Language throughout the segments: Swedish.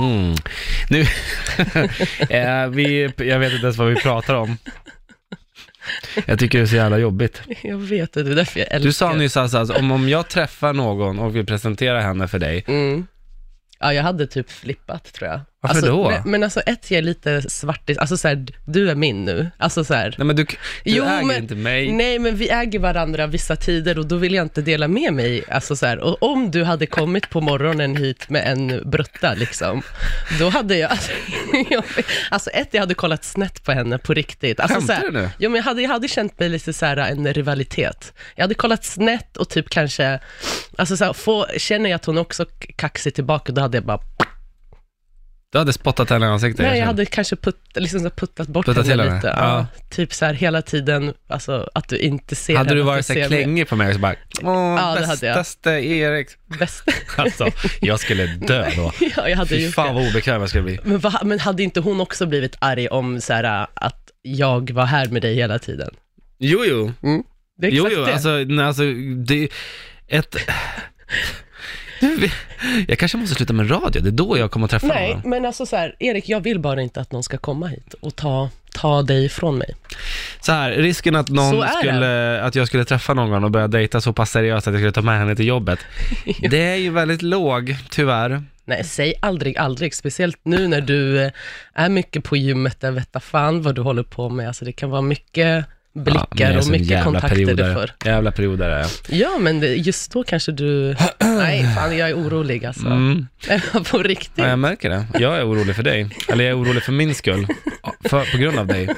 Mm. Nu, eh, vi, jag vet inte ens vad vi pratar om. Jag tycker det är så jävla jobbigt. Jag vet det, det är därför jag älskar Du sa nyss alltså, alltså om, om jag träffar någon och vill presentera henne för dig, Mm. Ja, jag hade typ flippat tror jag. Varför alltså, då? Men, men alltså ett, jag är lite svartis, alltså så här, du är min nu. Alltså så här, nej men du, du Jo, äger men- inte mig. nej men vi äger varandra vissa tider och då vill jag inte dela med mig. Alltså så här, och om du hade kommit på morgonen hit med en brutta liksom, då hade jag, alltså, jag, alltså ett, jag hade kollat snett på henne på riktigt. Alltså, så Skämtar du nu? här, jo, men jag, hade, jag hade känt mig lite så här, en rivalitet. Jag hade kollat snett och typ kanske, alltså så här, få, känner jag att hon också kaxig tillbaka, då hade jag bara Du hade spottat henne i ansiktet. Nej, jag känner. hade kanske putt, liksom så här puttat bort Puttat till henne henne? lite. Ja. Ja. Typ så här hela tiden, alltså att du inte ser hade henne, du att varit så här ser mig. klängig på mig och så bara, åh, Ja, det hade jag. bästaste Erik. Bäst. Alltså, jag skulle dö då. ja, jag hade Fy gjort fan det. vad obekväm jag skulle bli. Men, vad- men hade inte hon också blivit arg om så här, att jag var här med dig hela tiden? Jo, jo. Det är Jo, exakt jo, det. alltså, nej, alltså det är ett... Jag kanske måste sluta med radio, det är då jag kommer att träffa Nej, någon. men alltså så här, Erik, jag vill bara inte att någon ska komma hit och ta, ta dig ifrån mig. Så här, risken att, Så någon är skulle, att jag skulle träffa någon och börja dejta så pass seriöst att jag skulle ta med henne till jobbet, det är ju väldigt låg, tyvärr. Nej, säg aldrig, aldrig. Speciellt nu när du eh, är mycket på gymmet, där veta fan vad du håller på med. Alltså det kan vara mycket blickar men jag är en och sån mycket kontakter periodare. du får. Jävla perioder är jag. Ja, men det, just då kanske du... Nej, fan jag är orolig alltså. Mm. På riktigt. Ja, jag märker det. Jag är orolig för dig. Eller jag är orolig för min skull. För, på grund av dig.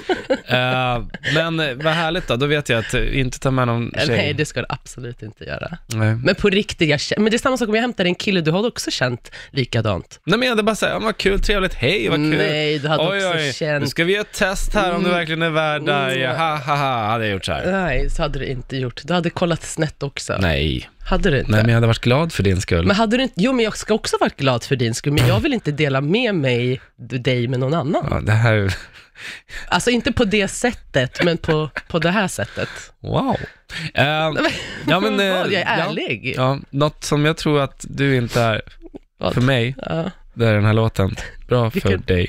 Eh, men eh, vad härligt då, då vet jag att eh, inte ta med någon tjej. Nej, det ska du absolut inte göra. Nej. Men på riktigt, jag kä- men det är samma sak om jag hämtar en kille, du har också känt likadant. Nej men jag hade bara såhär, ja, vad kul, trevligt, hej, vad kul. Nej, du hade också känt- Nu ska vi göra ett test här om du verkligen är värd dig. Mm. Ha, ha, ha, hade jag gjort så här. Nej, så hade du inte gjort. Du hade kollat snett också. Nej. Hade du inte? Nej men jag hade varit glad för din skull. Men hade du inte, jo men jag ska också varit glad för din skull, men jag vill inte dela med mig, d- dig med någon annan. Ja, det här, Alltså inte på det sättet, men på, på det här sättet. wow. Eh, ja, men, eh, Vad, jag är ja. ärlig. Ja, något som jag tror att du inte är Vad? för mig, Ja. det är den här låten. Bra för Vilken? dig.